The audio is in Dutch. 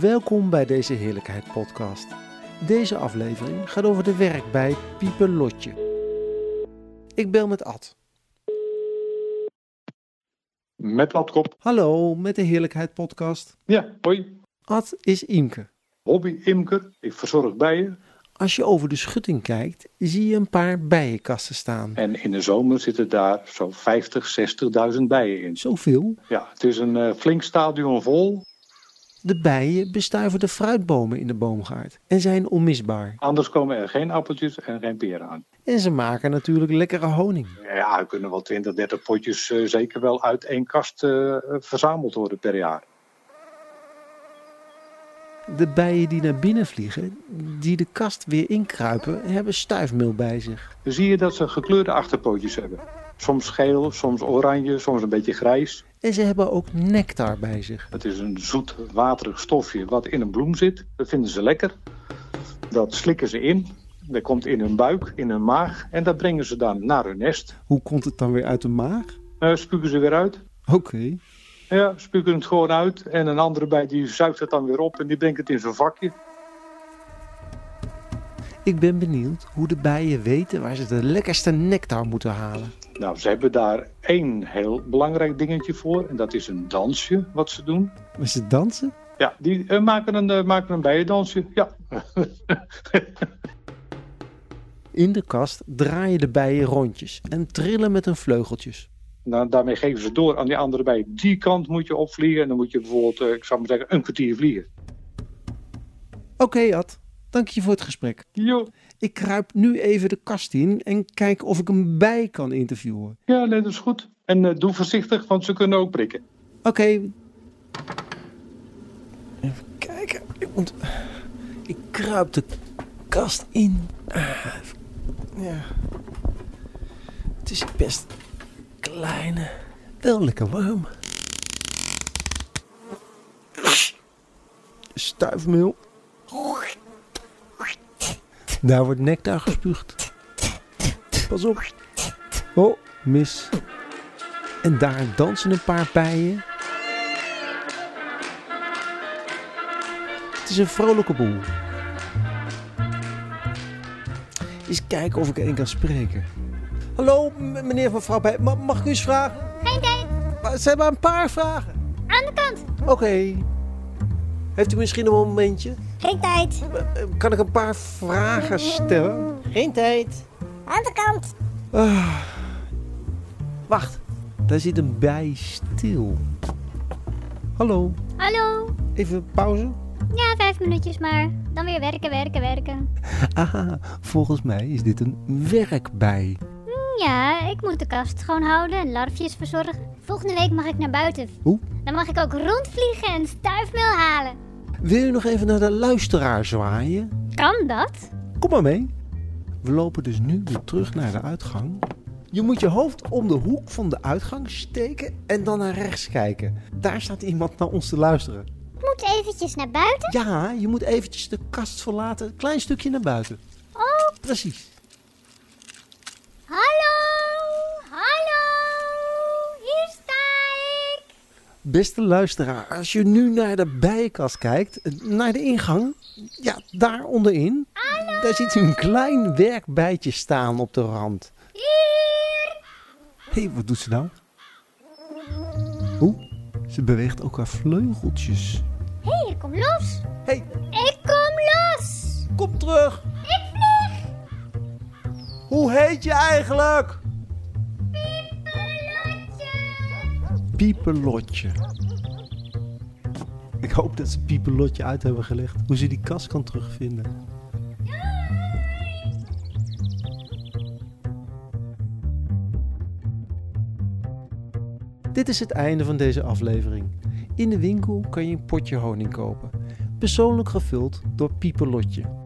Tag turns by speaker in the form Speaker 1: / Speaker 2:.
Speaker 1: Welkom bij deze Heerlijkheid Podcast. Deze aflevering gaat over de werk bij Pieper Lotje. Ik bel met Ad.
Speaker 2: Met wat kop.
Speaker 1: Hallo, met de Heerlijkheid Podcast.
Speaker 2: Ja, hoi.
Speaker 1: Ad is Imke.
Speaker 2: Hobby-imker. Ik verzorg bijen.
Speaker 1: Als je over de schutting kijkt, zie je een paar bijenkasten staan.
Speaker 2: En in de zomer zitten daar zo'n 50, 60.000 bijen in.
Speaker 1: Zoveel.
Speaker 2: Ja, het is een eh, flink stadion vol.
Speaker 1: De bijen bestuiven de fruitbomen in de boomgaard en zijn onmisbaar.
Speaker 2: Anders komen er geen appeltjes en geen peren aan.
Speaker 1: En ze maken natuurlijk lekkere honing.
Speaker 2: Ja, er kunnen wel 20, 30 potjes eh, zeker wel uit één kast eh, verzameld worden per jaar.
Speaker 1: De bijen die naar binnen vliegen, die de kast weer inkruipen, hebben stuifmeel bij zich.
Speaker 2: Dan zie je dat ze gekleurde achterpootjes hebben. Soms geel, soms oranje, soms een beetje grijs.
Speaker 1: En ze hebben ook nectar bij zich.
Speaker 2: Het is een zoet, waterig stofje wat in een bloem zit. Dat vinden ze lekker. Dat slikken ze in. Dat komt in hun buik, in hun maag. En dat brengen ze dan naar hun nest.
Speaker 1: Hoe komt het dan weer uit de maag?
Speaker 2: Eh spugen ze weer uit.
Speaker 1: Oké.
Speaker 2: Ja, spugen het gewoon uit. En een andere bij die zuigt het dan weer op en die brengt het in zo'n vakje.
Speaker 1: Ik ben benieuwd hoe de bijen weten waar ze de lekkerste nectar moeten halen.
Speaker 2: Nou, ze hebben daar één heel belangrijk dingetje voor. En dat is een dansje wat ze doen.
Speaker 1: Maar ze dansen?
Speaker 2: Ja, die eh, maken, een, eh, maken een bijendansje. Ja.
Speaker 1: In de kast draaien de bijen rondjes en trillen met hun vleugeltjes.
Speaker 2: Nou, daarmee geven ze door aan die andere bij. Die kant moet je opvliegen. En dan moet je bijvoorbeeld, eh, ik zou maar zeggen, een kwartier vliegen.
Speaker 1: Oké, Ad. Dank je voor het gesprek.
Speaker 2: Jo.
Speaker 1: Ik kruip nu even de kast in en kijk of ik een bij kan interviewen.
Speaker 2: Ja, nee, dat is goed. En eh, doe voorzichtig, want ze kunnen ook prikken.
Speaker 1: Oké. Even kijken. Ik, moet... ik kruip de kast in. Ah, even- Ja. Het is best kleine. Wel lekker warm. Stuifmeel. Daar wordt nectar gespuugd. Pas op. Oh, mis. En daar dansen een paar bijen. Het is een vrolijke boel. Eens kijken of ik een kan spreken. Hallo, m- meneer van Vrouw Bij. Ma- Mag ik u eens vragen?
Speaker 3: Geen tijd.
Speaker 1: Maar Ze hebben een paar vragen.
Speaker 3: Aan de kant.
Speaker 1: Oké. Heeft u misschien een momentje?
Speaker 3: Geen tijd.
Speaker 1: Eh, eh, Kan ik een paar vragen stellen? Geen tijd.
Speaker 3: Aan de kant.
Speaker 1: Ah. Wacht, daar zit een bij stil. Hallo,
Speaker 3: Hallo.
Speaker 1: even pauze.
Speaker 3: Ja, vijf minuutjes maar. Dan weer werken, werken, werken.
Speaker 1: Aha, volgens mij is dit een werkbij.
Speaker 3: Hm, Ja, ik moet de kast schoonhouden en larfjes verzorgen. Volgende week mag ik naar buiten.
Speaker 1: Hoe?
Speaker 3: Dan mag ik ook rondvliegen en stuifmeel halen.
Speaker 1: Wil u nog even naar de luisteraar zwaaien?
Speaker 3: Kan dat?
Speaker 1: Kom maar mee. We lopen dus nu weer terug naar de uitgang. Je moet je hoofd om de hoek van de uitgang steken en dan naar rechts kijken. Daar staat iemand naar ons te luisteren.
Speaker 3: Ik moet eventjes naar buiten.
Speaker 1: Ja, je moet eventjes de kast verlaten. Een klein stukje naar buiten.
Speaker 3: Oh,
Speaker 1: Precies.
Speaker 3: hallo. Hallo. Hier sta ik.
Speaker 1: Beste luisteraar, als je nu naar de bijenkast kijkt, naar de ingang, ja, daar onderin, daar ziet u een klein werkbijtje staan op de rand.
Speaker 3: Hier.
Speaker 1: Hé, wat doet ze nou? Oeh, ze beweegt ook haar vleugeltjes.
Speaker 3: Hé, hey, ik kom los.
Speaker 1: Hé, hey,
Speaker 3: Ik kom los.
Speaker 1: kom terug!
Speaker 3: Ik vlieg.
Speaker 1: Hoe heet je eigenlijk? Piepelotje. Ik hoop dat ze Piepelotje uit hebben gelegd hoe ze die kast kan terugvinden. Dit is het einde van deze aflevering. In de winkel kan je een potje honing kopen, persoonlijk gevuld door Piepelotje.